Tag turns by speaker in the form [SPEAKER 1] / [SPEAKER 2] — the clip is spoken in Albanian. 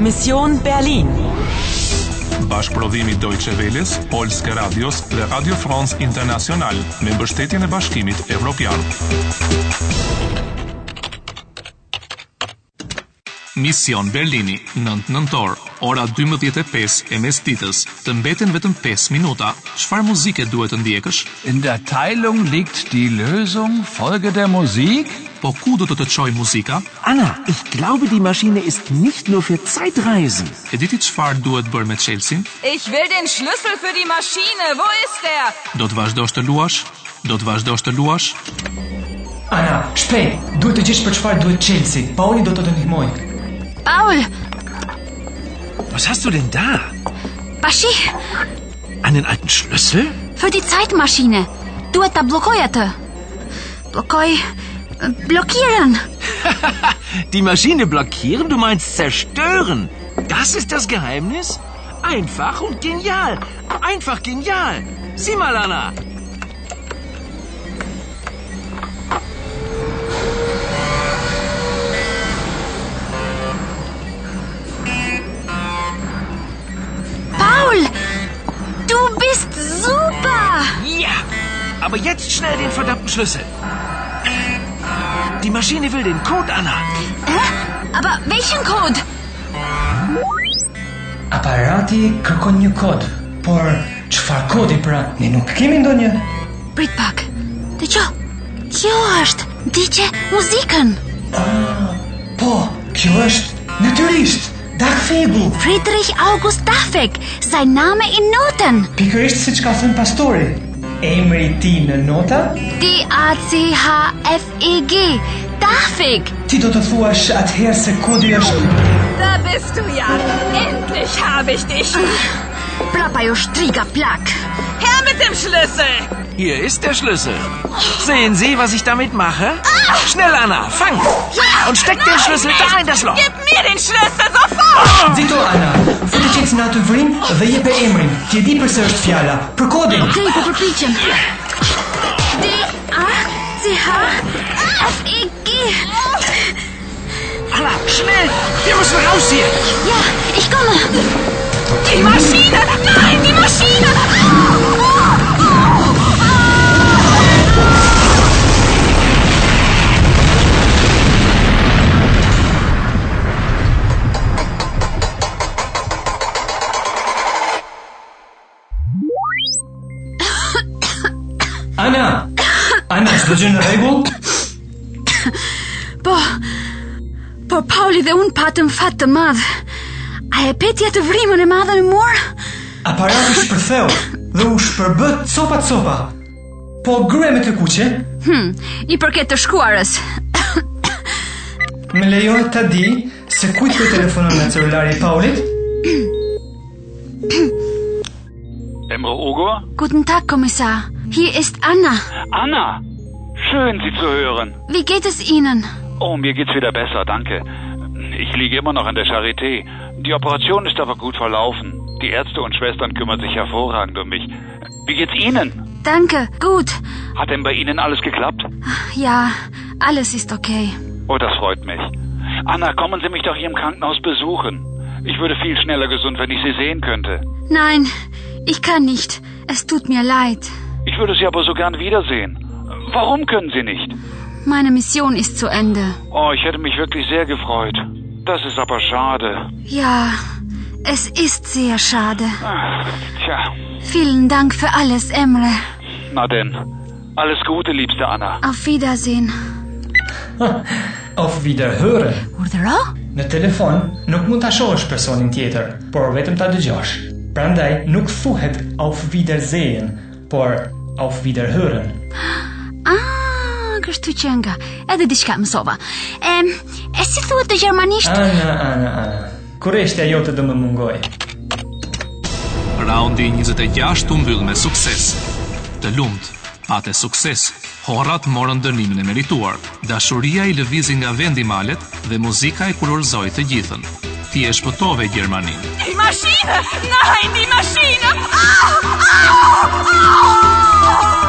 [SPEAKER 1] Mission Berlin.
[SPEAKER 2] Bashkëprodhimi Deutsche Welles, Polske Radios dhe Radio France International me mbështetjen e Bashkimit Evropian. Mision Berlini, 9 nëntor, ora 12:05 e mesditës. Të mbeten vetëm 5 minuta. Çfarë muzike duhet të ndjekësh?
[SPEAKER 3] In der Teilung liegt die Lösung. Folge der Musik.
[SPEAKER 2] Po ku do të të çoj muzika?
[SPEAKER 4] Anna, ich glaube, die Maschine ist nicht nur für Zeitreisen.
[SPEAKER 2] E di ti çfarë duhet bërë me Chelsea?
[SPEAKER 5] Ich will den Schlüssel für die Maschine. Wo ist er?
[SPEAKER 2] Do të vazhdosh të luash? Do të vazhdosh të luash?
[SPEAKER 6] Ana, shpejt, duhet të gjesh për çfarë duhet Chelsea. Paoli do të të ndihmoj.
[SPEAKER 7] Paul,
[SPEAKER 4] Was hast du denn da?
[SPEAKER 7] Bashi,
[SPEAKER 4] Einen alten Schlüssel?
[SPEAKER 7] für die Zeitmaschine. Duhet ta bllokoj atë. Bllokoj bllokiren.
[SPEAKER 4] Die Maschine blockieren? Du meinst zerstören? Das ist das Geheimnis? Einfach und genial. Einfach genial. Sieh mal, Anna.
[SPEAKER 7] Paul, du bist super.
[SPEAKER 4] Ja. Aber jetzt schnell den verdammten Schlüssel. Die Maschine will den Code, Anna.
[SPEAKER 7] Hä? Aber welchen Code?
[SPEAKER 6] Aparati kërkon një kod, por çfarë kodi pra? Ne nuk kemi ndonjë.
[SPEAKER 7] Prit pak. Dëgjoj. Kjo është. Ndiqe muzikën.
[SPEAKER 6] Po, kjo është natyrisht Dark Fable.
[SPEAKER 7] Friedrich August Dafek, sein Name in Noten.
[SPEAKER 6] Pikërisht siç ka thënë pastori. Emri i tij në nota,
[SPEAKER 7] D A C H F E G. Dafek.
[SPEAKER 6] ti do të thuash atëherë se kodi është
[SPEAKER 5] Da bist du ja. Endlich habe ich dich.
[SPEAKER 7] Prapa jo shtriga plak.
[SPEAKER 5] Her mit dem Schlüssel.
[SPEAKER 4] Hier ist der Schlüssel. Sehen Sie, was ich damit mache? Schnell, Anna, fang! Und steck den Schlüssel da in das Loch.
[SPEAKER 5] Gib mir den Schlüssel sofort.
[SPEAKER 6] Zito Ana. Futi qecë në atë vrim dhe jepe emrin. Ti e di përse është fjala. Për kodin.
[SPEAKER 7] Okej, po përpiqem. D A C H F E G.
[SPEAKER 4] Anna, schnell! Wir müssen raus hier!
[SPEAKER 7] Ja, ich komme.
[SPEAKER 5] Die Maschine. Nein, die Maschine. Ah! Ah!
[SPEAKER 6] Ana. Ana, çdo gjë në rregull?
[SPEAKER 7] Po. Po Pauli dhe un patëm fat të madh. A e petja të vrimën e madhe në mur?
[SPEAKER 6] Aparati shpërtheu dhe u shpërbët copa copa. Po gryhe me të kuqe,
[SPEAKER 7] Hm, i përket të shkuarës.
[SPEAKER 6] më lejohet ta di se kujt po i telefonon nga celulari i Paulit?
[SPEAKER 8] Emre Ogo?
[SPEAKER 7] Guten Tag, Kommissar. Hier ist Anna.
[SPEAKER 8] Anna! Schön, Sie zu hören.
[SPEAKER 7] Wie geht es Ihnen?
[SPEAKER 8] Oh, mir geht's wieder besser, danke. Ich liege immer noch an der Charité. Die Operation ist aber gut verlaufen. Die Ärzte und Schwestern kümmern sich hervorragend um mich. Wie geht's Ihnen?
[SPEAKER 7] Danke, gut.
[SPEAKER 8] Hat denn bei Ihnen alles geklappt?
[SPEAKER 7] Ja, alles ist okay.
[SPEAKER 8] Oh, das freut mich. Anna, kommen Sie mich doch hier im Krankenhaus besuchen. Ich würde viel schneller gesund, wenn ich Sie sehen könnte.
[SPEAKER 7] Nein, ich kann nicht. Es tut mir leid.
[SPEAKER 8] Ich würde Sie aber so gern wiedersehen. Warum können Sie nicht?
[SPEAKER 7] Meine Mission ist zu Ende.
[SPEAKER 8] Oh, ich hätte mich wirklich sehr gefreut. Das ist aber schade.
[SPEAKER 7] Ja, es ist sehr schade.
[SPEAKER 8] Ah, Tja,
[SPEAKER 7] Vielen Dank für alles, Emre.
[SPEAKER 8] na denn. Alles Gute, liebste Anna.
[SPEAKER 7] Auf Wiedersehen.
[SPEAKER 6] Of wiederhören.
[SPEAKER 7] Urdhëro?
[SPEAKER 6] Në telefon nuk mund ta shohësh personin tjetër, por vetëm ta dëgjosh. Prandaj nuk thuhet auf Wiedersehen, por auf Wiederhören.
[SPEAKER 7] Ah, kështu që nga. Edhe diçka mësova. Em, e si thuhet në gjermanisht?
[SPEAKER 6] Ana, ana, ana. Kurreshtja jote do më mungoj.
[SPEAKER 2] Raundi 26 u mbyll me sukses. Të lumt, pate sukses. Horrat morën dënimin e merituar. Dashuria i lëvizi nga vendi malet dhe muzika e kurorzoi të gjithën. Ti e shpëtove Gjermaninë.
[SPEAKER 5] Die Maschine. Nein, die Maschine. Ah! Ah! Ah!